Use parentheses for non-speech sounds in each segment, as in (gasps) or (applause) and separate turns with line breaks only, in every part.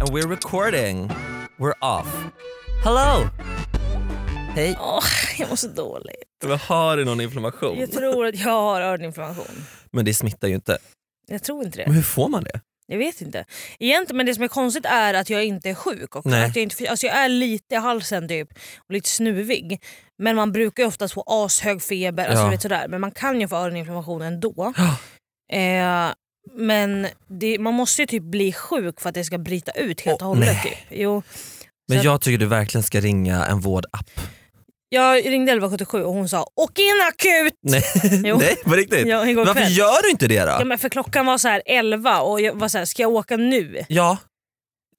And we're recording. We're off. Hello! Hej.
Åh, jag mår så dåligt.
Men har du någon inflammation?
Jag tror att jag har öroninflammation.
Men det smittar ju inte.
Jag tror inte
Men
det.
hur får man det?
Jag vet inte. Egentligen, men det som är konstigt är att jag inte är sjuk. Också.
Nej.
Att jag, inte, alltså jag är lite i halsen typ, och lite snuvig. Men man brukar ju oftast få ashög feber. Alltså,
Ja.
du vet, sådär. Men man kan ju få öroninflammation ändå.
Ja.
Eh, men det, man måste ju typ bli sjuk för att det ska bryta ut helt
Åh,
och hållet.
nej.
Typ. Jo.
Men
Så-
jag tycker du verkligen ska ringa en vårdapp.
Jag ringde 1177 och hon sa “Åk in akut!”
Nej,
(laughs) Jo.
(laughs) Nej på riktigt.
ja, igår
Varför
kväll.
gör du inte det då?
Ja, men för klockan var så här 11 och jag var så här, ska jag åka nu?
Ja,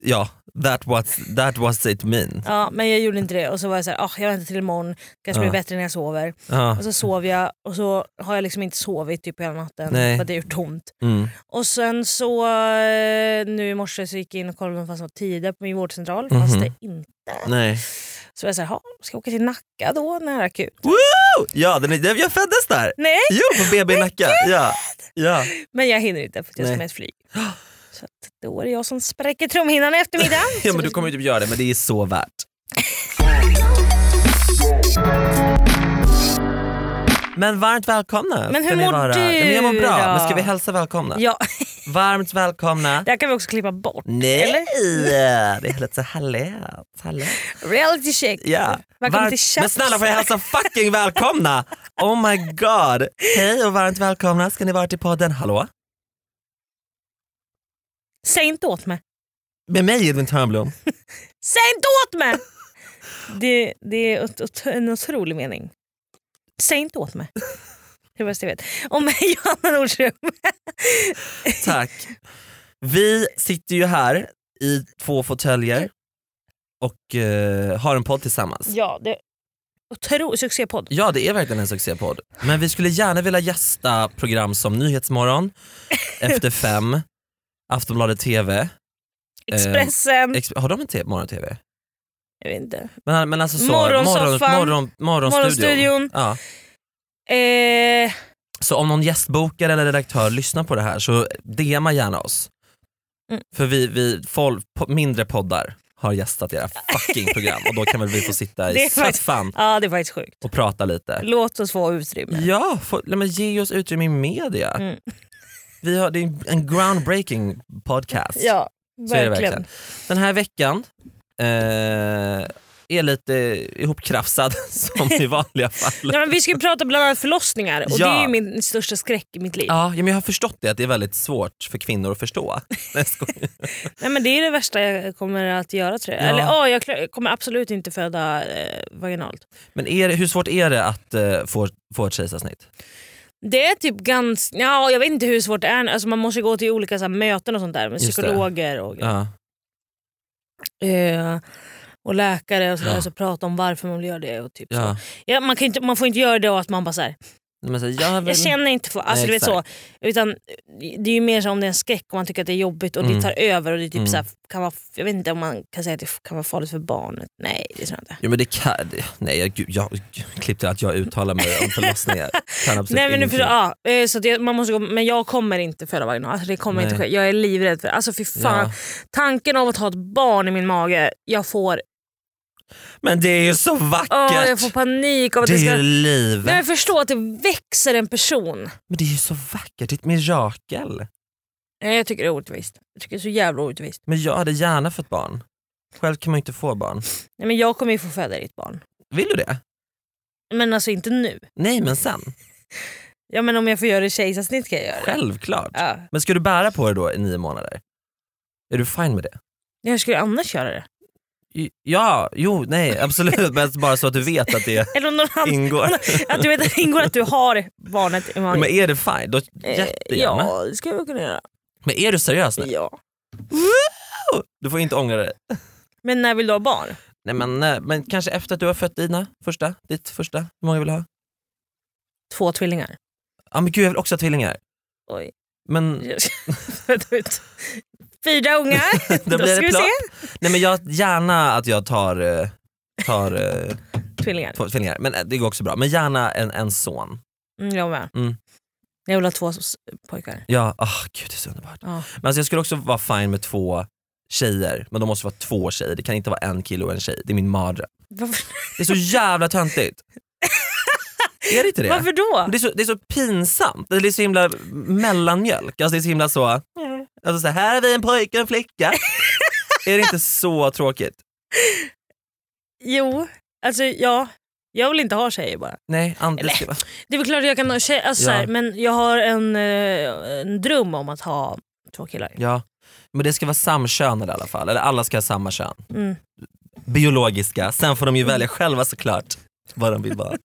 ja that, was, that was it mean.
Ja, men jag gjorde inte det och så var jag så här, "Ah, jag väntar till imorgon, kanske
Ja.
blir bättre när jag sover.
Ja.
Och så sov jag och så har jag liksom inte sovit typ hela natten
Nej.
för att det gjort ont.
Mm.
Och sen så eh, nu i morse så gick jag in och kollade om det fanns något tider på min vårdcentral, fanns
Mhm.
det inte.
Nej.
Så jag sa, "Ha, ska jag åka till Nacka då nära akut?
Woo! Ja, den är, den- jag föddes där.
Nej,
Jo, på BB i Nacka. Ja. Ja.
men jag hinner inte för att jag
Nej.
ska med ett flyg. Så att då är det jag som spräcker trumhinnan i eftermiddag.
(laughs) ja, men du kommer ju typ göra det men det är så värt. Men varmt välkomna
Men hur
ska ni
mår
vara.
du
Nej, men jag mår bra,
då?
men ska vi hälsa välkomna?
Ja,
Varmt välkomna.
det här kan vi också klippa bort.
Nej,
Eller?
det är lite så härligt. härligt.
Reality check.
Ja.
Välkommen
Varmt-
till Chaps.
Men snälla får jag hälsa fucking välkomna? Oh my god. Hej och varmt välkomna ska ni vara till podden. Hallå?
Säg inte åt mig.
Med mig Edvin Törnblom.
Säg inte åt mig! Det, det är ot- ot- en otrolig mening. Säg inte åt mig. Det är bäst jag vet. Och mig (laughs) Johanna Nordström.
Tack. Vi sitter ju här i två fåtöljer och eh, har en podd tillsammans.
Ja, det otro, succépodd.
Ja det är verkligen en succépodd. Men vi skulle gärna vilja gästa program som
(laughs)
Nyhetsmorgon, Efter fem, Aftonbladet TV. Eh,
Expressen.
Ex- har de en te- morgon-TV?
jag vet inte.
Men, men alltså så,
Morgonsoffan.
morgon, morgon, morgonstudion.
Morgonstudion.
Ja.
Eh,
Så om någon gästbokare eller redaktör lyssnar på det här så DMa gärna oss.
Mm.
För vi, vi folk, po- mindre poddar har gästat era fucking program och då kan väl vi få sitta
(laughs) Det
i
är faktiskt-
soffan
ja, det är faktiskt sjukt.
och prata lite.
Låt oss få utrymme.
Ja, få, nej, men ge oss utrymme i media.
Mm.
Vi har, det är en groundbreaking podcast.
Ja,
Så är det
verkligen.
verkligen. Den här veckan eh, är lite ihopkrafsad (laughs) som i vanliga fall.
Nej, men vi ska ju prata bland annat förlossningar och
Ja.
det är ju min största skräck i mitt liv.
Ja, ja, men jag har förstått det, att det är väldigt svårt för kvinnor att förstå. Nej, jag skojar.
Nej, men det är det värsta jag kommer att göra tror jag.
Ja.
Eller, åh, jag klar- kommer absolut inte föda eh, vaginalt.
Men är det, hur svårt är det att eh, få, få ett kejsarsnitt?
Det är typ ganska... Ja, jag vet inte hur svårt det är. Alltså, man måste gå till olika så här, möten och sånt där med
Just det.
psykologer och,
Ja.
eh, och läkare och sådär.
Ja.
Så prata om varför man vill göra det. Och typ
Ja.
så. Ja, man, kan inte, man får inte göra det och att man bara såhär,
Men så, här, jag, vill,
jag känner inte för... Alltså,
Mm. Nej,
du vet så.
exakt.
Utan, det är ju mer så om det är en skräck och man tycker att det är jobbigt och
Mm.
det tar över. Och det är typ
Mm.
så här, kan vara, jag vet inte om man kan säga att det kan vara farligt för barnet. Nej, det tror jag inte.
jo, men det kan, det, nej, jag, gud, jag klippte att jag uttalar mig om förlossningar.
(laughs)
Kan absolut
Nej, men, nu
ingenting.
förstår, ja, eh, så att jag- man måste gå, men jag kommer inte föda vaginal. Alltså, det kommer inte
Nej.
ske. Jag är livrädd för det. Alltså, fy fan.
Ja.
Tanken av att ha ett barn i min mage. Jag får,
Men det är ju så vackert!
åh, jag får panik av att
det
det,
är
ska...
ju livet.
Nej, men förstå att det växer en person.
Men det är ju så vackert, det är ett mirakel.
Nej, jag tycker det är orättvist. Jag tycker det är så jävla orättvist.
Men jag hade gärna fått barn. Själv kan man ju inte få barn.
Nej, men jag kommer ju få föda ditt barn.
Vill du det?
Men alltså inte nu.
Nej men sen,
Ja, men om jag får göra kejsarsnitt kan jag göra det.
självklart.
Ja.
Men ska du bära på det då i nio månader? Är du fine med det?
Jag skulle annars göra det.
I- Ja, jo, nej absolut. men bara så att du vet att (laughs) det
Eller om någon annan,
ingår.
att du vet att det ingår att du har barnet i magen.
Men är det fine? Då,
Eh,
jättegärna.
ja, det skulle jag kunna göra.
Men är du seriös nu?
Ja.
Du får inte ångra dig.
Men när vill du ha barn?
Nej, men, eh, men kanske efter att du har fött dina första, ditt första. Hur många vill du ha?
två tvillingar.
Ja men gud jag vill också ha tvillingar.
Oj.
Men,
jag ska (laughs) föda ut Fyra ungar.
(laughs) Då
Då,
blir
ska
det
vi
plopp.
se.
nej, men jag, gärna att jag tar, eh, tar eh,
Tvillingar.
två tvillingar. Men eh, det går också bra. Men gärna en, en son.
Mm, jag med.
Mm.
Jag vill ha två s- pojkar.
Ja, ah gud det är så underbart.
Ja.
Men alltså, jag skulle också vara fine med två tjejer, men de måste vara två tjejer. Det kan inte vara en kille och en tjej. Det är min mardröm.
Varför,
Det är så jävla töntigt. är det inte det?
varför då?
Det är, så, det är så pinsamt, det är så himla mellanmjölk. Alltså det är så himla så,
Mm.
alltså så här, här är vi en pojke och en flicka. är det inte så tråkigt?
Jo, alltså ja. Jag vill inte ha tjejer bara.
Nej, Anders ska vara...
Det är väl klart att jag kan ha tjejer, alltså,
Ja.
så här, men jag har en, eh, en dröm om att ha två killar.
Ja. Men det ska vara samkönade i alla fall, eller alla ska ha samma kön.
Mm.
Biologiska, sen får de ju välja själva såklart vad de vill vara.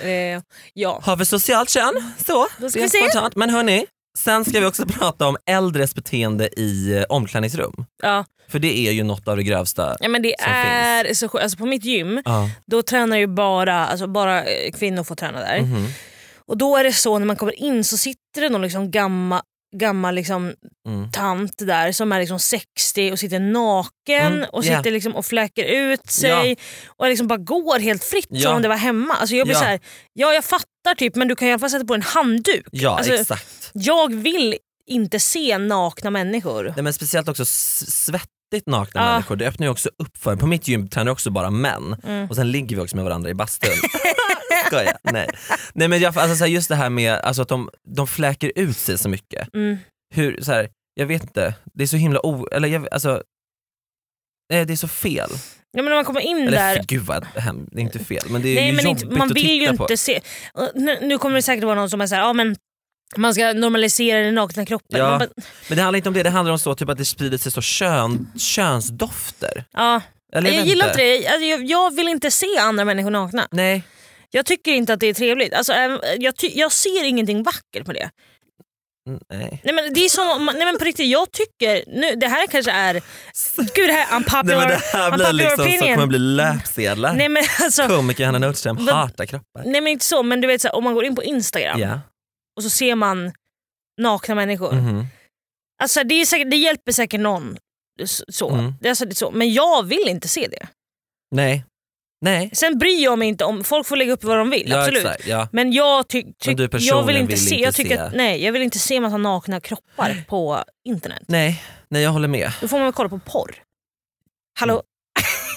Eh, ja.
Har vi socialt kön? Så,
Då ska
det är
vi se.
spontant. Men hörni, sen ska vi också prata om äldres beteende i eh, omklädningsrum.
Ja.
För det är ju något av det grövsta.
ja men det
Som
är så sjukt. Alltså, på mitt gym
Ja.
då tränar ju bara, alltså, bara eh, kvinnor får träna där.
Mhm.
Och då är det så när man kommer in så sitter det någon liksom gammal gammal liksom
Mm.
tant där som är liksom 60 och sitter naken
Mm,
och
ja.
sitter liksom och fläker ut sig och liksom bara går helt fritt
Ja.
som om det var hemma. Alltså jag blir
Ja.
så här, ja jag fattar typ men du kan i alla fall sätta på en handduk.
Ja,
Alltså,
exakt.
Jag vill inte se nakna människor.
Nej, men speciellt också s- svettigt nakna
Ja.
människor, det öppnar ju också upp för en. På mitt gym tränar jag också bara män
Mm.
och sen ligger vi också med varandra i
(laughs)
bastun. Skoja, nej. nej men jag, alltså, så här, just det här med alltså, att de, de fläker ut sig så mycket.
Mm.
Hur, så här, jag vet inte, det är så himla o... Eller jag, alltså, nej, det är så fel.
Ja, men när man kommer in
Eller
där
för, gud vad hem, det är inte fel men det är
Nej,
ju
men
jobbigt
inte, man
att
vill ju
titta
inte
på.
se. Och Nu, nu kommer det säkert vara någon som är såhär, ja men man ska normalisera den nakna kroppen.
Ja.
Man bara,
Men det handlar inte om det, det handlar om så, typ, att det sprider sig så kön, könsdofter.
ja.
Eller,
Jag,
vet
gillar inte det. Alltså, jag, jag vill inte se andra människor nakna.
Nej,
Jag tycker inte att det är trevligt. Alltså, även- jag, ty- jag ser ingenting vackert på det.
nej.
Nej men det är som om, man- nej men på riktigt, jag tycker, nu, det här kanske är, gud det här är
Nej
unpopular,
men det här blir
unpopular
liksom så
opinion.
kommer bli löpsedlar.
Nej men alltså,
Komiker Hanna Nordström
Vad-
hatar kroppar.
nej men inte så men du vet så här, om man går in på Instagram
Ja.
och så ser man nakna människor.
Mhm.
Alltså, det, är säkert, det hjälper säkert någon. s- Så.
Mm.
Det är alltså, det är så. Men jag vill inte se det.
Nej. Nej.
Sen bryr jag mig inte om, folk får lägga upp vad de vill.
Ja,
absolut.
exakt, ja.
Men jag, ty- ty-
Men du
jag
personligen
vill inte
vill
se,
inte
jag tycker
se.
Att, nej, jag vill inte se massa nakna kroppar på internet.
Nej. Nej jag håller med.
Då får man väl kolla på porr. Hallå?
Mm.
(laughs)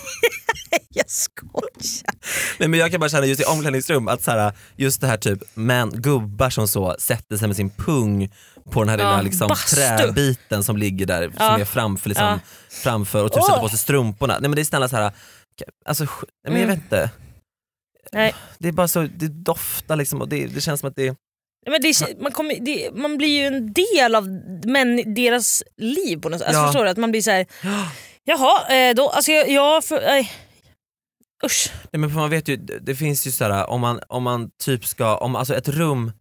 jag skojar.
Nej, men jag kan bara känna just i omklädningsrum att så här, just det här typ män, gubbar som så sätter sig med sin pung på den här
Ja,
lilla liksom,
bastu.
träbiten som ligger där
Ja.
som är framför, liksom,
Ja.
framför och typ
Åh.
sätter på sig strumporna. Nej men det är snälla så här, alltså, sk- nej, men jag
Mm.
vet inte.
Nej.
Det är bara så, det doftar liksom och det, det känns som att det
Nej, Men det, är- man, kommer, det, man blir ju en del av män, deras liv på något sätt. Alltså,
Ja.
Förstår du? Att man blir
(gasps)
så här. jaha, eh, då, alltså jag... jag för, nej. Usch.
Nej men för man vet ju, det det finns ju såhär om man, om man typ ska, om, alltså ett rum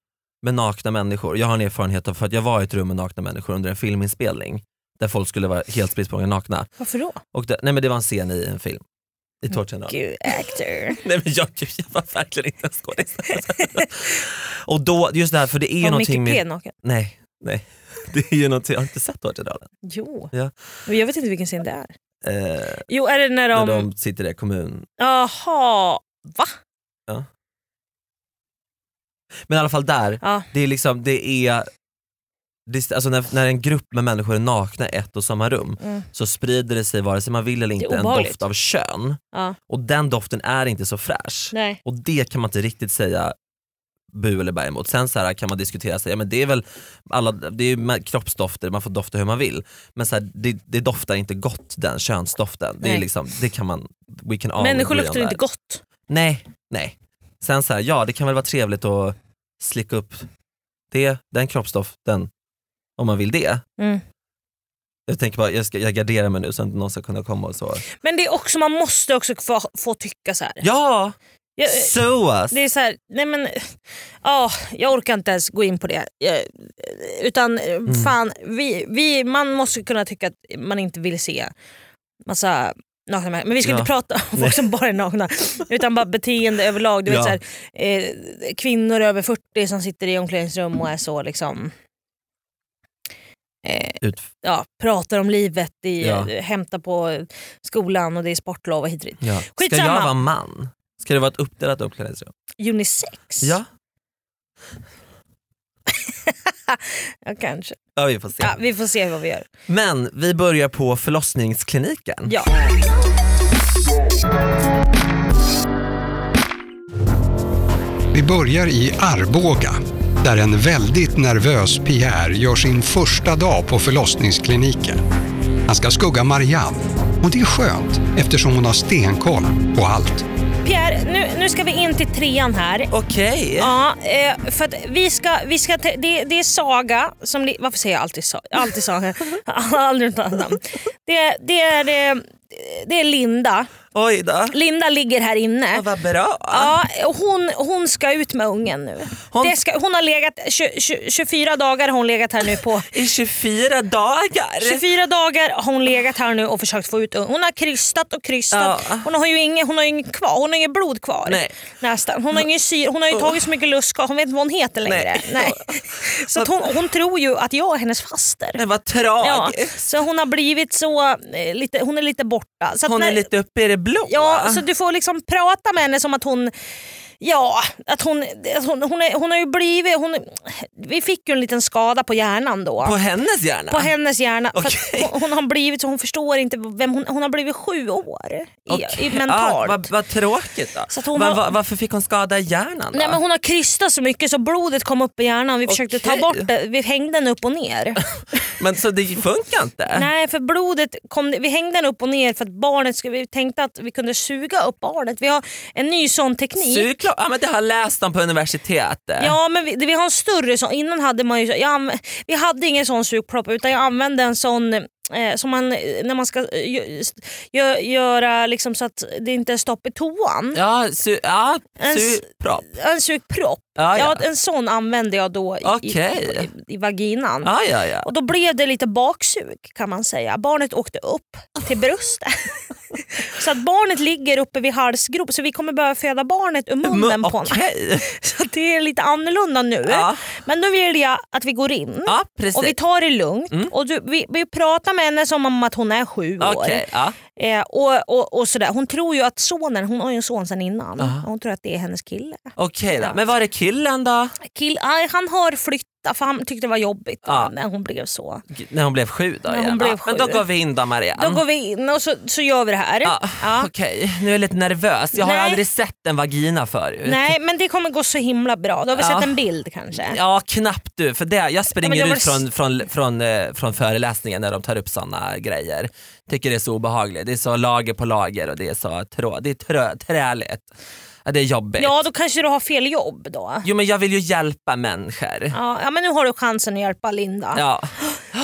med nakna människor, jag har en erfarenhet av för att jag var i ett rum med nakna människor under en filminspelning där folk skulle vara helt spritt språngande nakna.
Varför då?
Och det, nej men det var en scen i en film, i Torchen
Gud, actor.
Nej men jag, gud, jag var verkligen inte en
(laughs)
skådis. och då, just det här för det är ju
Var Micke
någonting
P
med,
naken?
nej, nej. Det är ju någonting, jag har inte sett Torchedalen.
Jo.
Ja.
Men jag vet inte vilken scen det är.
Eh,
Jo, är det när
När
de...
de sitter där i kommun.
Jaha. Va?
Men i alla fall där,
Ja.
Det är liksom, det är, det, är- alltså när, när en grupp med människor är nakna i ett och samma rum
Mm.
så sprider det sig vare sig man vill eller
Det är
inte en
obehagligt.
doft av kön
ja.
och den doften är inte så fräsch.
Nej.
Och det kan man inte riktigt säga bu eller bär emot. Sen så här kan man diskutera, sig, ja, men det är väl alla, det är ju med- kroppsdofter, man får dofta hur man vill. Men så här, det, det doftar inte gott den könsdoften. Det, är
Nej.
liksom, det kan man, we can all
Människor
agree on
luktar
that.
inte gott.
Nej, nej. Sen så här, ja det kan väl vara trevligt att slicka upp det, den kroppsdoften om man vill det.
Mm.
Jag tänker bara, jag, ska, jag garderar mig nu så att någon ska kunna komma och så.
Men det är också, man måste också få, få tycka så här.
Ja!
Jag,
Sue us!
Eh, det är så här, nej men... ja, jag orkar inte ens gå in på det. Jag, utan eh,
Mm.
fan, vi, vi, man måste kunna tycka att man inte vill se massa nakna människor. Men vi ska
Ja.
inte prata om folk som bara är nakna. Utan bara beteende överlag. Du
Ja.
vet, så här, eh, kvinnor över 40 som sitter i omklädningsrum och är så liksom... Eh,
Ut,
ja, pratar om livet, i,
Ja.
eh, hämtar på skolan och det är sportlov och hit och dit.
ja. Ska
Skitsamma.
jag vara man? Ska det vara ett uppdelat uppklädningsrum?
Unisex?
Ja.
ja, kanske.
Ja, vi får se.
Ja, vi får se vad vi gör.
Men vi börjar på förlossningskliniken.
Ja.
Vi börjar i Arboga, där en väldigt nervös Pierre gör sin första dag på förlossningskliniken. Han ska skugga Marianne och det är skönt eftersom hon har stenkoll på allt.
Pierre, nu, nu ska vi in till trean här.
Okej.
Ja, eh, för att vi ska, vi ska te- det, det är Saga som... li- Varför säger jag alltid, sa, alltid
(laughs)
Saga? Jag har Aldrig något annat namn. Det, det, är, eh, det är Linda.
Oj då.
Linda ligger här inne.
Ja, vad bra.
Ja, och hon, hon ska ut med ungen nu.
Hon-
Det ska, hon har legat, tjo- tjo- 24 dagar har hon legat här nu på
I 24 dagar.
24 dagar har hon legat här nu och försökt få ut ungen. Hon har krystat och krystat.
Ja.
Hon har ju inget, hon har ju inget kvar. Hon har inget blod kvar.
Nej.
Nästan. Hon har, ingen syre, hon har ju tagit så mycket lustgas, hon vet inte vad hon heter längre.
Nej.
Nej.
(laughs)
Så att hon, hon tror ju att jag är hennes faster.
Men vad
Ja.
tragiskt.
Så hon har blivit så, eh, lite, hon är lite borta. Så att
Hon är
när-
lite uppe i det blå.
Ja, så du får liksom prata med henne som att hon Ja, att hon, att hon, hon, är, hon har ju blivit... Hon, vi fick ju en liten skada på hjärnan då.
På
På,
hennes hjärna?
hennes hjärna. För att
Okej.
hon, hon har blivit så hon förstår inte vem hon, hon har blivit sju år i,
Okej.
i mentalt.
Ah, vad, vad tråkigt då.
Så att hon
Va-
har-
va- varför fick hon skada i hjärnan då?
Nej, men hon har krystat så mycket så blodet kom upp i hjärnan. Vi försökte
Okej.
ta bort det. Vi hängde den upp
(laughs)
och ner.
Men så det funkar inte?
Nej, för blodet kom, vi hängde den upp och ner för att barnet skulle, vi tänkte att vi kunde suga upp barnet. Vi har en ny sån teknik.
Såklart, ja, men det har jag läst om på universitetet.
Ja men vi, vi har en större sån. Innan hade man ju, jag, anv- vi hade ingen sån sugpropp utan jag använde en sån eh, som man, när man ska eh, gö, s- gö, göra liksom så att det inte är stopp i toan.
Ja, su- ja
En s-
surpropp.
En sugpropp.
Ja, ja.
Ja, en sån använde jag då i,
Okej.
i, i vaginan.
Ja, ja, ja.
Och då blev det lite baksug kan man säga. Barnet åkte upp
(laughs)
till bröstet. så att barnet ligger uppe vid halsgrop så vi kommer behöva föda barnet ur munnen
Men,
på honom. (laughs)
Okej.
Så att det är lite annorlunda nu.
Ja.
Men nu vill jag att vi går in.
Ja, precis. Mm.
Och vi tar det lugnt. Och du, vi, vi pratar med henne som om att hon är sju
Okej, ja.
år. Eh, och, och, och sådär. Hon tror ju att sonen, hon har ju en son sedan innan, hon tror att det är hennes kille.
Okej då. Men var är killen då?
Kill, aj, han har flyttat för han tyckte det var jobbigt
Ja.
när hon blev så.
G- När hon blev sju då
När hon
igen.
blev
ja. Men då
sju.
går vi in då Marianne.
Då går vi in och så, så gör vi det här.
Mm. ja.
Ja.
Okej, nu är jag lite nervös. Jag har
Nej.
aldrig sett en vagina förut.
Nej men det kommer gå så himla bra. Då har vi
Ja.
sett en bild kanske.
Ja knappt du, för det, jag springer
jag var-
ut från, från, från, eh, från föreläsningen när de tar upp sådana grejer. Tycker det är så obehagligt, det är så lager på lager och det är så trå, det är trö, träligt. Ja, det är jobbigt.
Ja då kanske du har fel jobb då.
Jo men jag vill ju hjälpa människor.
Ja, ja men nu har du chansen att hjälpa Linda.
Ja.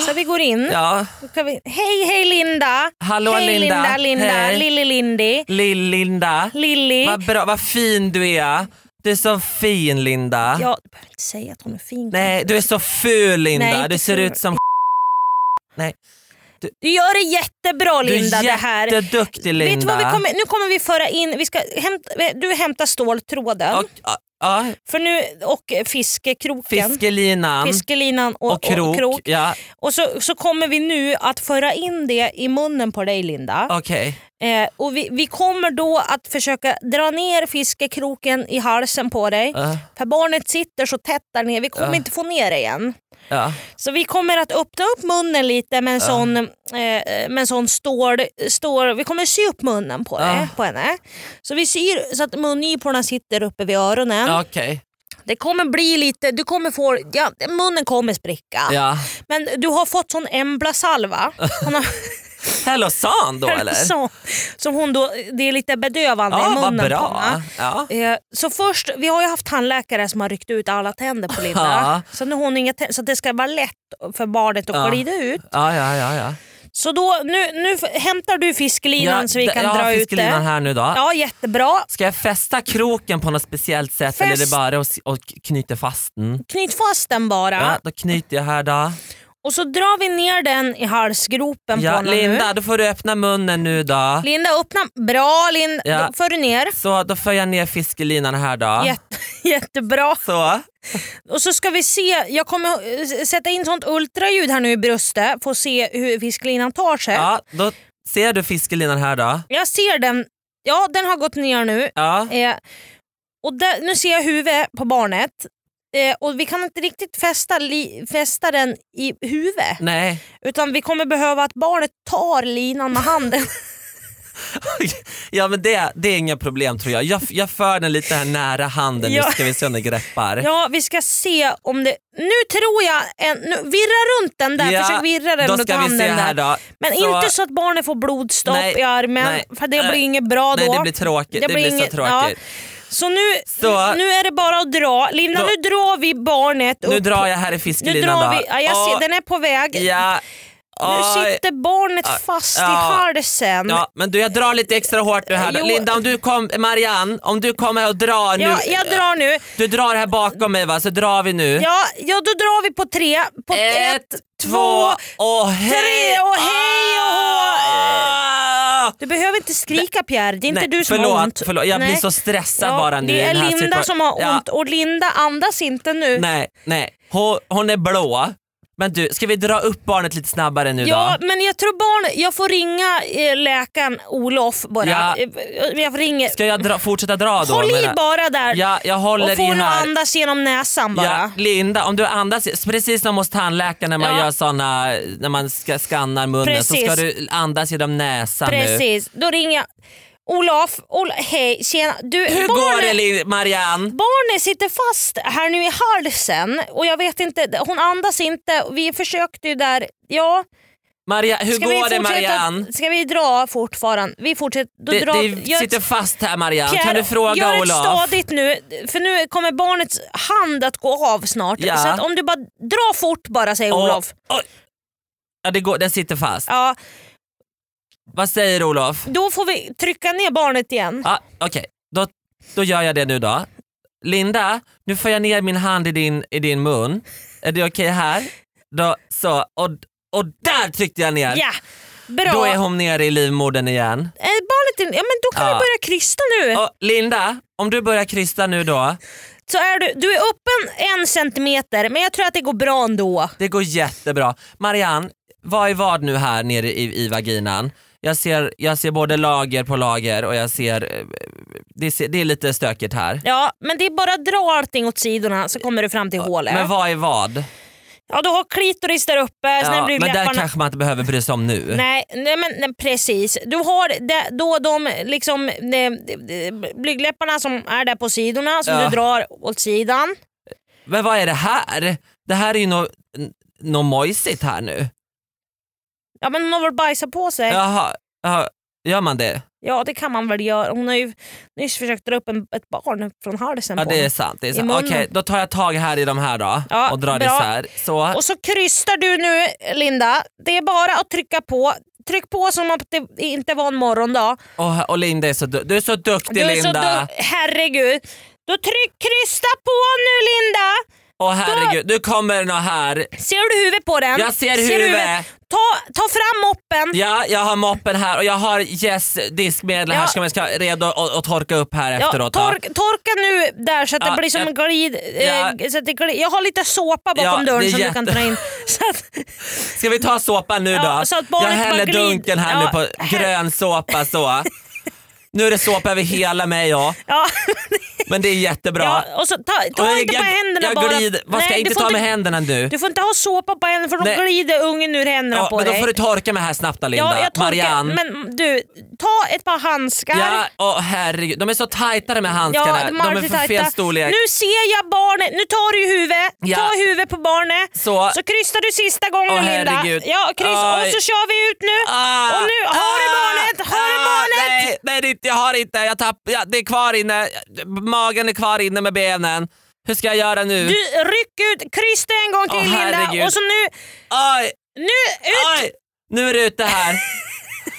Så vi går in.
ja.
Då kan vi... Hej hej Linda!
Hallå,
hej,
Linda.
Linda, Linda.
Hej.
Lilly Lindy.
Lill-Linda,
Lilly.
vad bra, vad fin du är. Du är så fin Linda.
Ja, du behöver inte säga att hon är fin.
Nej du är så ful Linda,
Nej, inte
du ser
ful.
ut som Nej,
Du gör det jättebra
du
Linda
är
det här.
jätteduktig Linda.
Vet du vad vi kommer, nu kommer vi föra in, vi ska hämta, eh, du hämtar ståltråden
Och, ja, ja,
för nu, och eh, fiskekroken,
fiskelinan.
fiskelinan och,
och krok. Ja,
Och så, så kommer vi nu att föra in det i munnen på dig Linda.
okej.
Eh, och vi, vi kommer då att försöka dra ner fiskekroken i halsen på dig.
Ja,
För barnet sitter så tätt där nere, vi kommer
Ja.
inte få ner det igen.
ja.
Så vi kommer att öppna upp munnen lite med en sån, eh, med en sån stål, stål... Vi kommer sy upp munnen på,
Ja.
det, på henne. Så vi syr så att mungiporna sitter uppe vid öronen.
ja, okej.
Det kommer bli lite... Du kommer få, ja, munnen kommer spricka.
Ja.
Men du har fått sån emblasalva. Hon har,
Hellosan då eller?
så, som hon då, det är lite bedövande i
Ja, vad
munnen på
bra.
henne.
Ja.
Eh, Så först, vi har ju haft tandläkare som har ryckt ut alla tänder på Linda.
Ja.
Så nu har hon inga tänder, så att det ska vara lätt för barnet att
Ja.
glida ut.
Ja, ja, ja, ja.
Så då, nu, nu f- hämtar du fiskelinan
Ja,
så vi
d-
kan
jag
dra
har
ut det.
fiskelinan här nu då.
Ja, jättebra.
Ska jag fästa kroken på något speciellt sätt eller är det
Fäst-
bara att s- och knyta fast den?
Knyt fast den bara
Ja. då knyter jag här då.
och så drar vi ner den i halsgropen på
Ja,
honom
Linda, då får du öppna munnen nu då.
nu. Linda öppna. Bra Linda,
Ja.
då för du ner.
Så då för jag ner fiskelinan här då.
Jätte, (laughs) jättebra.
Så.
Och så ska vi se, jag kommer eh, sätta in sånt ultraljud här nu i bröstet för att se hur fiskelinan tar sig.
Ja, då ser du fiskelinan här då.
Jag ser den, ja den har gått ner nu.
Ja.
Eh, och där, nu ser jag huvudet på barnet eh, och vi kan inte riktigt fästa, li, fästa den i huvudet.
Nej, (laughs)
Utan vi kommer behöva att barnet tar linan
(laughs)
med handen.
ja, men det, det är inga problem tror jag. Jag, jag för den lite här nära handen,
Ja.
nu ska vi se om den greppar.
ja, vi ska se om det... Nu tror jag... En, nu, virra runt den där,
Ja,
försök virra den
Då
runt
ska vi
handen
se här
där.
då.
Men
Så-
inte så att barnet får blodstopp
Nej,
i armen,
nej,
för det blir
nej.
inget bra då.
Nej det blir tråkigt,
Det
det
blir
blir,
inget-
så tråkigt.
Så, nu,
Så-
nu är det bara att dra. Lina,
Då-
nu drar vi barnet upp.
Nu drar jag här i
nu
fiskelinan
drar
då.
vi, ja, jag ser,
Åh,
den är på väg.
ja,
Nu
Åh,
sitter barnet fast i
ja,
halsen.
ja, men du jag drar lite extra hårt nu här då.
Jo.
Linda om du kom, Marianne om du kommer och drar nu.
Ja, jag drar nu.
Du drar här bakom mig va, så drar vi nu.
Ja, ja, då drar vi på tre. På ett, två.
och hej!
tre och hej och hå.
Ah!
Du behöver inte skrika Pierre, det är inte
Nej,
du som
förlåt,
har ont.
Förlåt, jag
Nej.
blir så stressad
Ja,
bara nu. i
Det är
den här
Linda
situationen.
som har
Ja,
ont och Linda andas inte nu.
Nej, nej. Hon, hon är blå. Men du, ska vi dra upp barnet lite snabbare nu
Ja,
då?
men jag tror barn, jag får ringa eh, läkaren Olof bara.
Ja.
Eh, Jag ringer.
Ska jag dra, fortsätta dra då?
Håll i
menar-
bara där
Ja, jag håller
och får
i
du
här.
andas genom näsan
Ja,
bara.
Linda, om du andas, precis som hos tandläkaren när man
Ja.
gör såna, när man ska skannar munnen så
Precis.
ska du andas genom näsan nu.
Precis, då ringer jag. Olof, Ol hej tjena. Du,
Hur
barnet,
går det Lin- Marianne?
Barnet sitter fast här nu i halsen och jag vet inte, hon andas inte. Vi försökte ju där, ja.
Maria, hur
Ska vi
går det
fortsätta-
Marianne?
Ska vi dra fortfarande? Vi fortsätter. Då
Det,
drar,
det
gör-
sitter fast här Marianne,
Pierre,
kan du
gör
fråga
det
Olof?
stadigt nu, för nu kommer barnets hand att gå av snart.
Ja.
Så att om du bara drar fort bara, säger
Och-
Olof.
oj. Ja, det går, den sitter fast.
Ja,
Vad säger Olof?
då får vi trycka ner barnet igen.
Ja, Okej, då, då gör jag det nu då. Linda, nu får jag ner min hand i din, i din mun. Är det okej här? Då, så, och, och där tryckte jag ner.
Ja, bra.
Då är hon nere i livmodern igen.
Är barnet in... ja, men då kan
Ja.
du börja krysta nu.
Och Linda, om du börjar krysta nu då.
Så är du, du är öppen en centimeter, men jag tror att det går bra ändå.
Det går jättebra. Marianne, vad är vad nu här nere i, i vaginan? Jag ser, jag ser både lager på lager och jag ser, eh, det, ser, det är lite stökigt här.
Ja, men det är bara att dra allting åt sidorna så kommer du fram till hålet.
Men vad är vad?
Ja, du har klitoris där uppe, sen
Ja,
blir
men
det
där
läpparna.
kanske man inte behöver bry sig om nu.
Nej, nej men nej, precis. Du har de, då de liksom, de, de, de, blygdläpparna som är där på sidorna som
Ja.
du drar åt sidan.
Men vad är det här? Det här är ju något nå mojsigt här nu.
Ja men hon har väl bajsat på sig. Ja,
Jaha, jaha, gör man det?
det kan man väl göra. Hon har ju nyss försökt dra upp en, ett barn från halsen
Ja
på
det är
honom.
sant. Det är
I
sant.
munnen.
Okej, då tar jag tag här i de här då
Ja,
och drar
bra.
isär. Så.
Och så krystar du nu Linda. Det är bara att trycka på. Tryck på som om det inte var en morgondag.
Och, och Linda är så, du du är så duktig
Du är så
Linda.
dum. Herregud. Då tryck, krysta på nu Linda.
Åh herregud, nu kommer den här.
Ser du huvudet på den?
Jag ser
du
huvudet.
Ta, ta fram moppen.
Ja, jag har moppen här och jag har yes diskmedel
Ja.
här som jag ska redo att att torka upp här
Ja,
efteråt.
tork, torka nu där så att det
Ja,
blir som en
jag-
glid, eh,
Ja.
så att det glid. Jag har lite såpa bakom
Ja, det
dörren
är
som du
jätte- (laughs)
kan dra in. Så att,
Ska vi ta såpan nu
Ja,
då?
så att
jag
barnet bara
häller
glider.
dunken här
Ja,
nu på
här-
grön såpa så. nu är det såpa över hela mig ja.
ja. (laughs)
Men det är jättebra.
ja, och så ta ta
Och
inte på händerna
jag
bara.
glider. Vad ska
Nej,
jag
du
inte
får
ta med händerna nu?
Du får inte ha såpa på händerna för då
Nej.
glider ungen ur händerna
Ja,
på
men då
dig.
får du torka mig här snabbt då, Linda.
ja, jag torkar,
Marianne.
men du, ta ett par handskar.
Ja, åh herregud. De är så tajta de här handskarna.
de
de
har
är
lite
för fel
tajta.
storlek.
Nu ser jag barnet, nu tar du huvudet,
Ja.
ta huvudet på barnet.
Så.
Så krystar du sista gången
Åh,
Linda.
herregud.
Ja, kryss.
Aj.
Och så kör vi ut nu.
Ah,
och nu, har du
ah,
barnet? Har du
ah,
barnet?
Nej, nej det är inte- jag har inte. Jag tapp, ja, det är kvar inne. Magen är kvar inne med benen. Hur ska jag göra nu?
Du, ryck ut, kryss det en gång
Åh,
till Linda.
herregud.
Och så nu,
Aj,
nu ut.
aj, nu är det ute
(laughs)
här.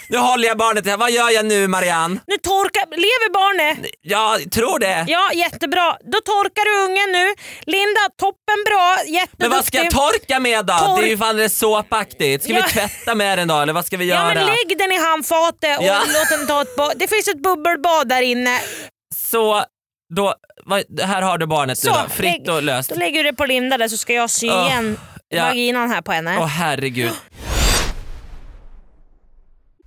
nu håller jag barnet här. Vad gör jag nu Marianne?
Nu torkar, lever barnet?
Jag tror det.
Ja, jättebra. Då torkar du ungen nu. Linda, toppen bra, jätteduktig.
Men vad ska jag torka med då?
Tork-
Det är ju fan det är såpaktigt. Ska
Ja.
vi tvätta med den då eller vad ska vi
Ja
göra?
men lägg den i handfatet och
Ja.
låt den ta ett bad. Det finns ett bubbelbad där inne.
Så då, vad, här har du barnet
Så,
nu då. Fritt
lägg-
och löst.
Då lägger du det på Linda där så ska jag sy
Åh,
igen
ja.
vaginan här på henne.
Åh herregud.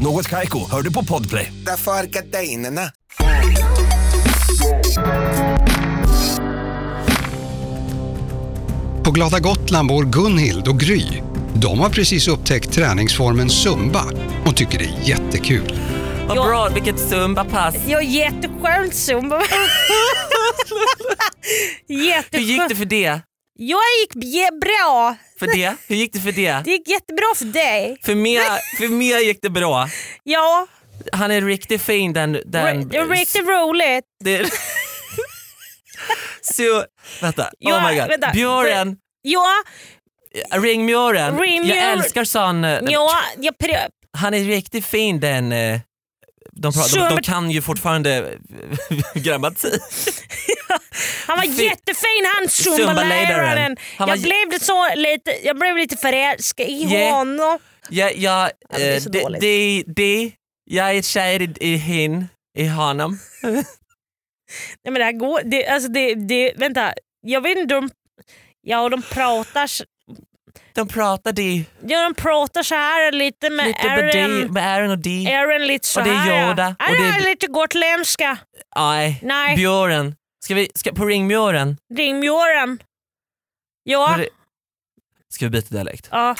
Något Kaiko, hör du på Podplay.
Därför är gardinerna.
På glada Gotland bor Gunhild och Gry. De har precis upptäckt träningsformen zumba och tycker det är jättekul.
Vad
Ja.
bra, vilket zumba-pass.
Jag är jätteskönt
(laughs)
Zumba.
Hur gick
Jätteskönt.
det för det?
Jag gick bje- bra.
För det? Hur gick det för det?
Det gick jättebra för dig.
För mig, för mig gick det bra.
Ja,
Han är riktigt fin den... den
det var riktigt roligt.
det, (laughs) så, vänta, oh
Ja,
my god.
vänta.
Björn,
Ja,
ringmjören.
Ringmjören.
Jag älskar sån... eh,
ja jag pre-
Han är riktigt fin den... eh, De, pra- de, de
Zumba-
kan ju fortfarande eh, (laughs) grammatik.
han var
Fi-
jättefin han
Zumba-ledaren.
Zumba-läraren.
Han
Jag,
var
blev lite så lite, jag blev lite förälskad i
Yeah.
honom.
Jag, jag,
men det är
eh,
så
det,
dåligt.
det, det, jag är kär i, i hin, i honom.
Nej, men det här går, det, alltså det, det, vänta, jag vet inte de, ja, de pratar s-
De pratade
ja, de pratar så här lite med
lite med, de,
Aaron.
med Aaron och Dee.
Aaron lite så
Och det är
här.
Yoda,
Ja.
och
det
det är-
är lite gotländska.
Nej,
Nej.
björnen. Ska vi, ska, på ringmjören,
Ringmjören. Ja.
Var det- ska vi byta dialekt?
ja.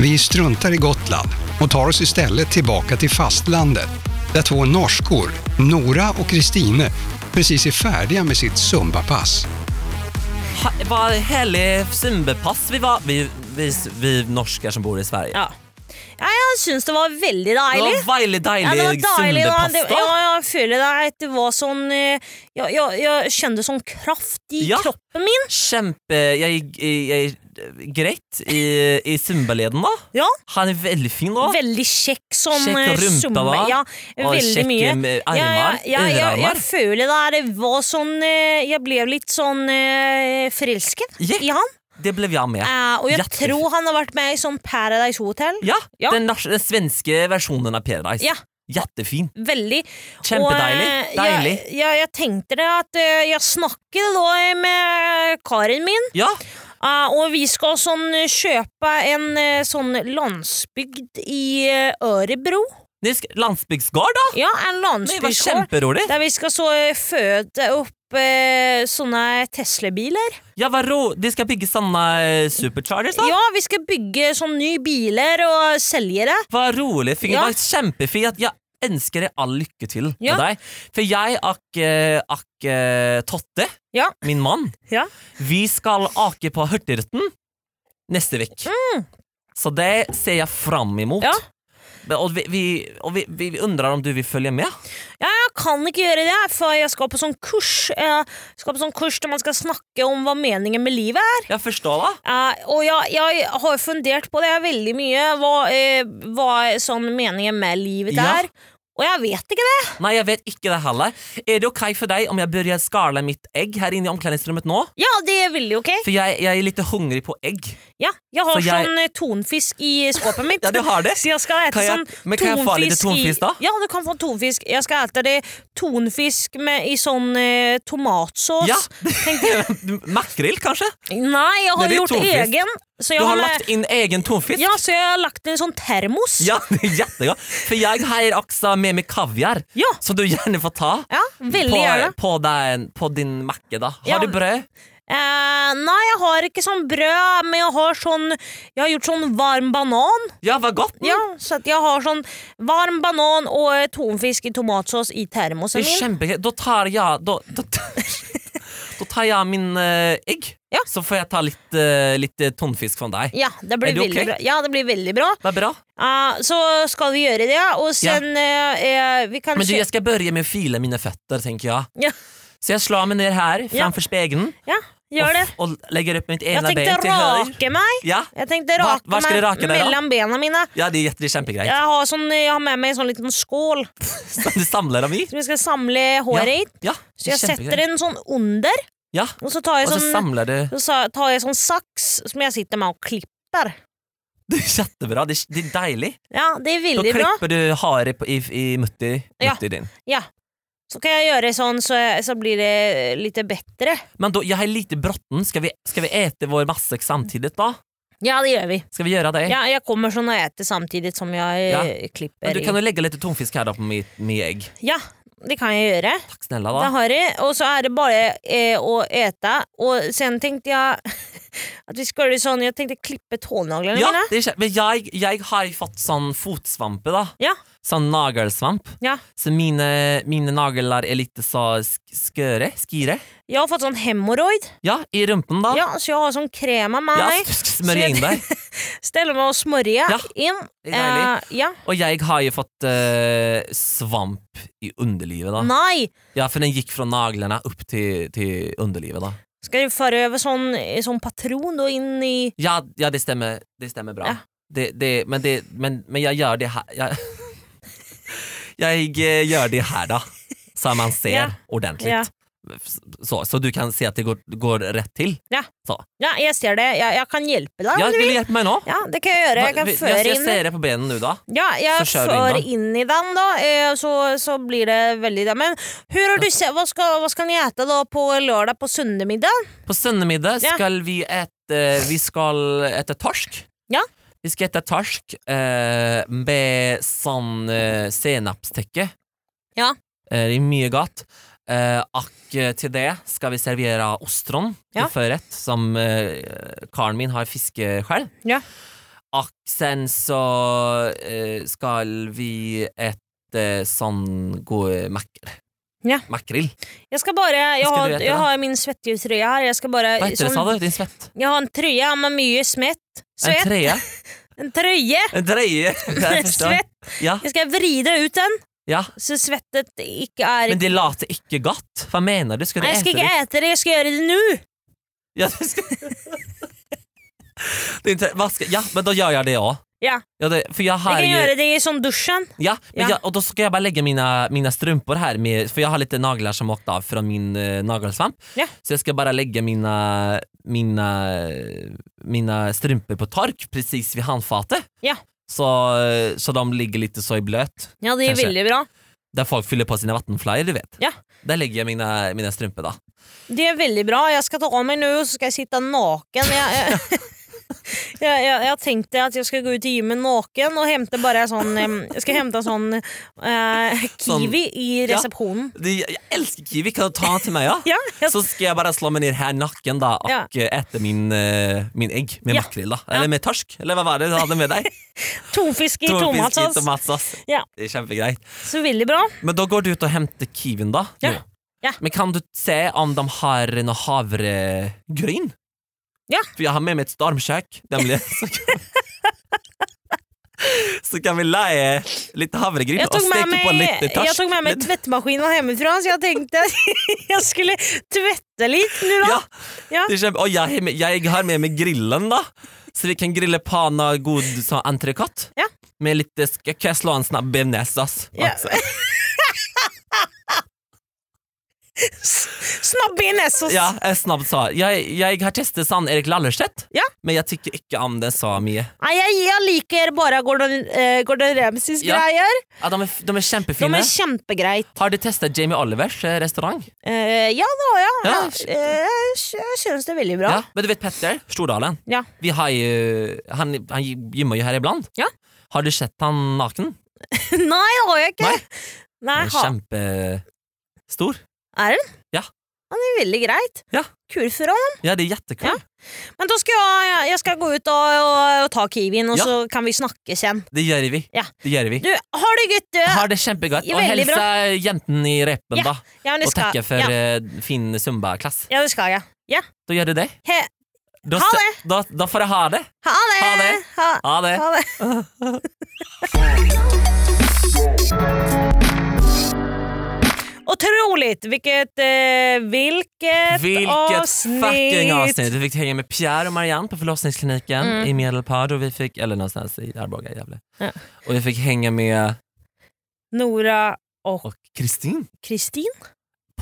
Vi struntar i Gotland och tar oss istället tillbaka till fastlandet där två norskor, Nora och Kristine, precis är färdiga med sitt zumbapass.
Ha, var härlig Simbepass vi var. Vi, vi, vi norskar som bor i Sverige.
ja. Ja, jag syns det var väldigt
det
dejligt.
var väldigt
Ja, det var
dejlig
dejligt. Ja, det-
Simbepass då.
ja, jag kände det. att Det var sån... eh, Jag, jag, jag kände sån kraft i
Ja.
kroppen min.
Kämpe, jag är, jag är grett i, i Simbaleden då.
Ja.
Han är väldigt fin då.
Väldigt check som
Check
eh,
rumpa,
summa.
va?
Ja,
och
väldigt
check
mycket.
med
Ja,
armar,
ja, ja, jag,
överarmar.
jag føler det. Det var sånn eh, Jeg ble litt sånn eh, forelsket
Ja.
i han.
Det blev jag med.
Eh, og jeg
Jättefint.
tror han har vært med i sånn Paradise Hotel.
Ja,
Ja.
Den, nors- den svenska versionen av Paradise.
Ja.
Jättefin.
Veldig.
Kjempedeilig.
Og, eh,
Deilig.
Jeg, jeg, jeg tenkte det at eh, jeg snakket da med karen min,
Ja.
eh, og vi skal sånn kjøpe en eh, sånn landsbygd i eh, Ørebro.
Nu ska, landsbygdsgård då?
Ja, en
Nej, vad
landsbygdsgård.
kämperoligt.
Der vi skal så eh, føde opp eh, sånne Tesla-biler.
Ja, vad ro, de ska bygga såna eh, superchargers då?
Ja, vi ska bygga sån ny biler och sälja det.
Vad roligt, Finger.
Ja.
Vad kämpefint. Jag önskar dig all lycka till
Ja.
med dig. För jag och, eh, och eh, Totte,
Ja.
min man,
Ja.
vi ska åka på Hurtigruten nästa vecka. Så det ser jag fram emot.
Mm. Ja.
Men- Och, vi, vi, och vi, vi vi undrar om du vill följa med?
Ja, jag kan inte göra det för jag ska på sån kurs. Jag ska på sån kurs där man ska snacka om vad meningen med livet är.
Jag förstår va?
Eh, och jag, jag har funderat på det väldigt mycket, vad, eh, vad sån meningen med livet
Ja.
är. Och jag vet inte det.
Nej, jag vet inte det heller. Är det okej för dig om jag börjar skala mitt ägg här inne i omklädningsrummet nu?
Ja, det är väldigt okej.
För jag, jag är lite hungrig på ägg.
Ja, jag har
Så jag-
sån eh, tonfisk i skåpet mitt.
(laughs) Ja, du har det.
Så jag ska äta
Kan jag-
sån
men kan jag få lite tonfisk
i,
då?
Ja, du kan få tonfisk. Jag ska äta det tonfisk med, i sån eh, tomatsås.
Ja. (laughs) Makrill kanske?
Nej, jag har
Nej, det är
gjort
tonfisk.
egen. Så jag
Du
har,
har
med,
lagt in egen tonfisk?
Ja, så jag har lagt en sån termos.
Ja, (laughs) det är jättegott. För jag har också med mig kaviar
Ja.
som du gärna får ta
Ja, väldigt gärna.
på, på, den, på din macka. Då. Har
Ja.
du bröd?
Eh, nej, jag har inte sån bröd, men jag har sån, jag har gjort sån varm banan.
Ja, vad gott.
Ja, så att jag har sån varm banan och eh, tonfisk i tomatsås i
Det
termosen
är
min.
kämpe- Då tar jag, då, då, (laughs) då tar jag min eh, ägg
Ja.
så får jag ta lite, lite tonfisk från dig.
Ja, det
Är
blir
det
väldigt
okej?
bra. Ja, det blir väldigt bra.
Vad bra.
Ja, så ska vi göra det och sen eh, eh, vi kanske...
Men du, jag ska börja med att fila mina fötter tänker jag.
ja,
Så jag slår mig ner här
Ja.
framför spegeln
ja, Gör
och,
det.
Och lägger upp mitt
Jag
ena ben
tänkte
till höger.
raka mig.
Ja.
Jag
Var-
tänkte raka
var ska du
mig
raka dig då?
mellan benen mina.
ja, det är jätte- det är kämpig grej.
Jag
(laughs)
har, sån, eh, jag har med mig en sån liten skål
Du samlar dem i.
som jag ska samla hår i.
Ja,
Så
det är
jag
kämpig
sätter
grej.
en sån under
Ja,
och så tar jag
och så
sån,
samlar du. (laughs)
så sa- tar jag sån sax som jag sitter med och klipper.
Det är jättebra, det är, det är dejligt.
Ja, det är
Då
väldigt bra.
klipper du hare på- i, i mutti,
Ja.
mutti din.
Så kan jag göra sån så, så blir det lite bättre.
Men då, jag har lite bråttom, ska vi, ska vi äta vår matsäck samtidigt då?
Ja, det gör vi.
Ska vi göra det?
Ja, jag kommer sån och äter samtidigt som jag eh,
Ja.
klipper.
Men du kan
i.
väl lägga lite tonfisk här då på mitt, mitt ägg?
Ja, det kan jag göra.
Tack snälla
Det
då.
har det. Och så är det bara eh, att äta. Och sen tänkte jag (laughs) att vi skulle göra sån, jag tänkte klippa tånaglarna
Ja,
mina.
det är, kä- men jag, jag har ju fått sån fotsvampe då.
Ja.
Sån nagelsvamp.
Ja.
Så mina, mina naglar är lite så sk- skøre, skire.
Jag har fått sån hemorrojd.
Ja, i rumpen då.
Ja. så jag har sån kräma med
Ja,
mig.
du ska
Så
smörja
jag
in dig.
Ställer mig och smörjer
Ja,
in.
det är deilig.
Eh, ja.
Och jag har ju fått eh, svamp i underlivet då.
Nej,
Ja, för den gick från naglarna upp till, till underlivet då.
ska du föra över sån, eh, sån patron då in i...
Ja, ja det stämmer, det stämmer bra.
Ja.
Det, det, men, det, men, men jag gör det här. Jag, (laughs) jag eh, gör det här då. Så man ser
(laughs) Ja.
ordentligt.
Ja.
Så, så du kan se att det går, går rätt till.
Ja, jag ser det. Jag, jag kan hjälpa dig
Ja,
om du
vill du
vill.
hjälpa mig nu?
Ja, det kan jag göra. Jag kan
jag,
föra
jag, jag
in
ser det på benen nu då.
Ja, jag
Så kör vi in
för
den.
in i den då, eh, så, så blir det väldigt... Men hur har du sett, vad, ska, vad ska ni äta då på lördag på söndagsmiddag?
På söndagsmiddag
Ja.
ska vi äta, eh, vi ska äta torsk.
Ja.
Vi ska äta torsk eh, med sån eh, senapstäcke.
Ja.
Eh, det är mycket gott. Eh, och eh, till det ska vi servera ostron
Ja.
i förrätt som eh, karln min har fiskat själv.
Ja.
Och sen så eh, ska vi äta sån god mackor.
Ja.
Makrill.
Jag ska bara, jag,
ska
har,
du äta
jag
då?
har min svettiga tröja här. Jag ska bara...
Vad heter det
sån-
sa du? Din svett?
Jag har en tröja med mycket svett.
En
Svett.
trea?
En tröja.
En
(laughs)
dreie. Jeg forstår.
svett.
Ja,
Jag ska vrida ut den
ja.
så svettet inte är...
Men det later ikke godt. Hva mener du? Skal du
Nej, jag ska
ete
inte
det?
äta det, jag ska göra det nu.
Ja, du skal... det er inte- hva skal... ja, men da gjør jeg det òg.
Ja.
Ja, det, for jeg
Jag
har
kan
ju-
göra det i sån duschen.
ja, men
Ja.
Jag, och då ska jag bara lägga mina, mina strumpor här, med, för jag har lite naglar som åkt av från min eh, nagelsvamp.
Ja.
Så jag ska bara lägga mina, mina, mina strumpor på tork precis vid handfatet.
Ja.
Så, så de ligger lite så i blöt.
Ja, det är
Kanske.
väldigt bra.
Där folk fyller på sina vattenflyer, du vet.
Ja.
Där lägger jag mina, mina strumpor då.
Det är väldigt bra. Jag ska ta av mig nu och så ska jag sitta naken. Jag, jag, (laughs) jag, jag, jag tänkte att jag ska gå ut i gymmet naken och hämta bara sån, em, jag ska hämta sån eh, kiwi
Sån-
i
Ja.
receptionen.
Det, jag älskar kiwi, kan du ta den till mig? Ja?
(laughs) Ja, jag,
Så ska jag bara slå mig ner här naken då och
Ja.
eh, äta min, eh, min ägg med
Ja.
makrill. Då. Eller med torsk, eller vad var det du hade med dig?
tonfisk (laughs) i
Tonfisk i
tomatsås.
tomatsås.
Ja.
Det är kämpegrejt.
Så väldigt bra.
Men då går du ut och hämtar kiwin då?
Ja.
nu.
Ja.
Men kan du se om de har några havregryn?
Ja.
För jag har med mig ett stormkök.
(laughs)
nämligen. Så kan- (laughs) Så kan vi lägga lite havregryn
Jag
och
tog, med
steka på
mig,
lite torsk.
jag tog med mig
Men-
tvättmaskinen hemifrån så jag tänkte att (laughs) jag skulle tvätta lite nu då.
Ja.
Ja.
Det kjem, og jeg, har med- jeg har med meg grillen, da. Så vi kan grille pana god sånn entrecôte.
Ja.
Med litt Skal jeg slå en snabb bearnés, ass? Alltså,
Ja. (laughs)
Altså.
Snabb in så
Ja, en snabb sa. Jeg, jeg har testet sånn Erik Lallerstedt,
Ja.
men jeg tykker ikke om den så mye.
Nej, jag, jag liker bara Gordon, eh, Gordon Ramsays
Ja.
grejer.
Ja, de, er, f- de er
De
kjempefine.
är kämpegrejt.
Har du testet Jamie Olivers eh, restaurant?
Eh, ja, det har jag.
Ja.
Ja. Eh, jag känns det väldigt bra.
Ja, Men du vet Petter Stordalen?
Ja. (laughs)
Vi har jo, han, han gymmer jo her iblant.
Ja.
Har du sett han naken?
Nej, det har jag inte.
Nej.
Nej,
Han er
ha.
kjempestor.
Är den?
Ja.
Han är väldigt grejt.
Ja.
Kul för honom.
Ja, det er jättekul.
Men då ska jag, jag- jag ska gå ut och, och, och ta kiwin och
Ja.
så kan vi snacka sen.
Det gjør vi.
Ja.
Det gjør vi.
Du, har det gött du!
Har det kjempegodt.
Ja,
Og
veldig
hilse jentene i repen,
Ja,
da.
ja, men det
Og
ska,
takke for
ja.
eh, fin Zumba-klasse.
ja, det ska jag. Ja.
Da gjør du det.
He,
Da,
Ha
se- da, da får jeg ha det.
ha det!
Ha det.
Ha,
Ha det.
ha det. (laughs) Otroligt! Vilket, eh, vilket,
Vilket
avsnitt!
fucking avsnitt! Vi fick hänga med Pierre och Marianne på förlossningskliniken i Medelpad och vi fick, eller någonstans i Arboga, Gävle.
Mm. Ja.
Och vi fick hänga med
Nora och
och Kristin
Kristin.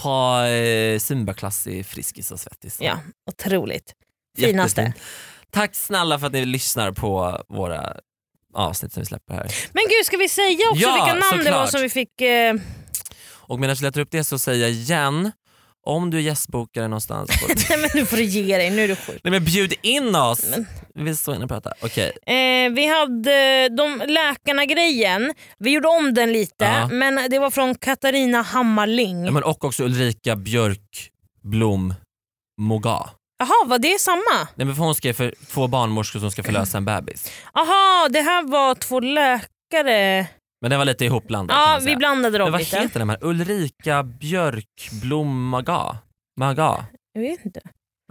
på eh, Zumbaklass i Friskis och Svettis.
Ja, otroligt. Finaste.
Jättefint. Tack snälla för att ni lyssnar på våra avsnitt som vi släpper här.
Men gud, ska vi säga också
Ja,
vilka namn det var
såklart.
som vi fick? Eh, (laughs)
Och medan jag letar upp det så säger jag igen, om du är gästbokare någonstans på...
(laughs) nej men nu får du ge dig, nu är du sjuk.
Nej men bjud in oss! Vi vill stå inne och prata. Okej,
Eh, vi hade de läkarna-grejen, vi gjorde om den lite,
Ja.
men det var från Katarina Hammarling.
ja, men och också Ulrika Björk Blom Moga.
Jaha, var det samma?
Nej men för hon skrev för två barnmorskor som ska förlösa en bebis.
Jaha, det här var två läkare.
Men det var lite ihopblandat kan
Ja,
man säga.
vi blandade dem
Men vad
lite.
heter den här? Ulrika Björk Blom Maga? Maga?
Jag vet inte.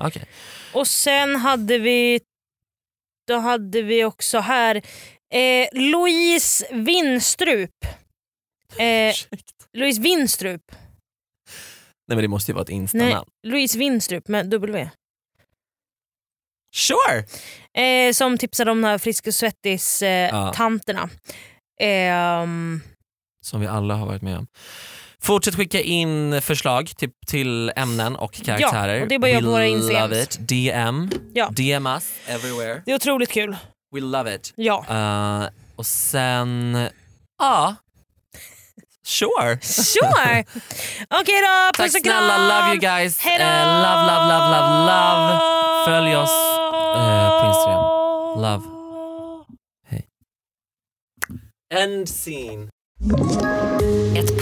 Okej.
Och sen hade vi då hade vi också här eh, Louise Winstrup. Eh,
Ursäkta.
Louise Winstrup.
Nej men det måste ju vara ett
Nej,
instanamn.
Louise Winstrup med W.
Sure!
Eh, som tipsade om de här Frisk och
Ja.
Svettis-tanterna. Ehm,
Som vi alla har varit med om. Fortsätt skicka in förslag till, till ämnen och karaktärer.
och det är bara jag på
We
våra Instagrams.
love it. DM.
Ja.
DM us everywhere.
det är otroligt kul.
We love it.
Ja.
Eh, och sen, ja.
(laughs)
Sure.
Sure! Okej då,
Tack
puss och kram!
snälla, love you guys.
Hej då!
Eh, love, love, love, love, love. Följ oss eh, på Instagram. Love. Hej. End scene.
Ett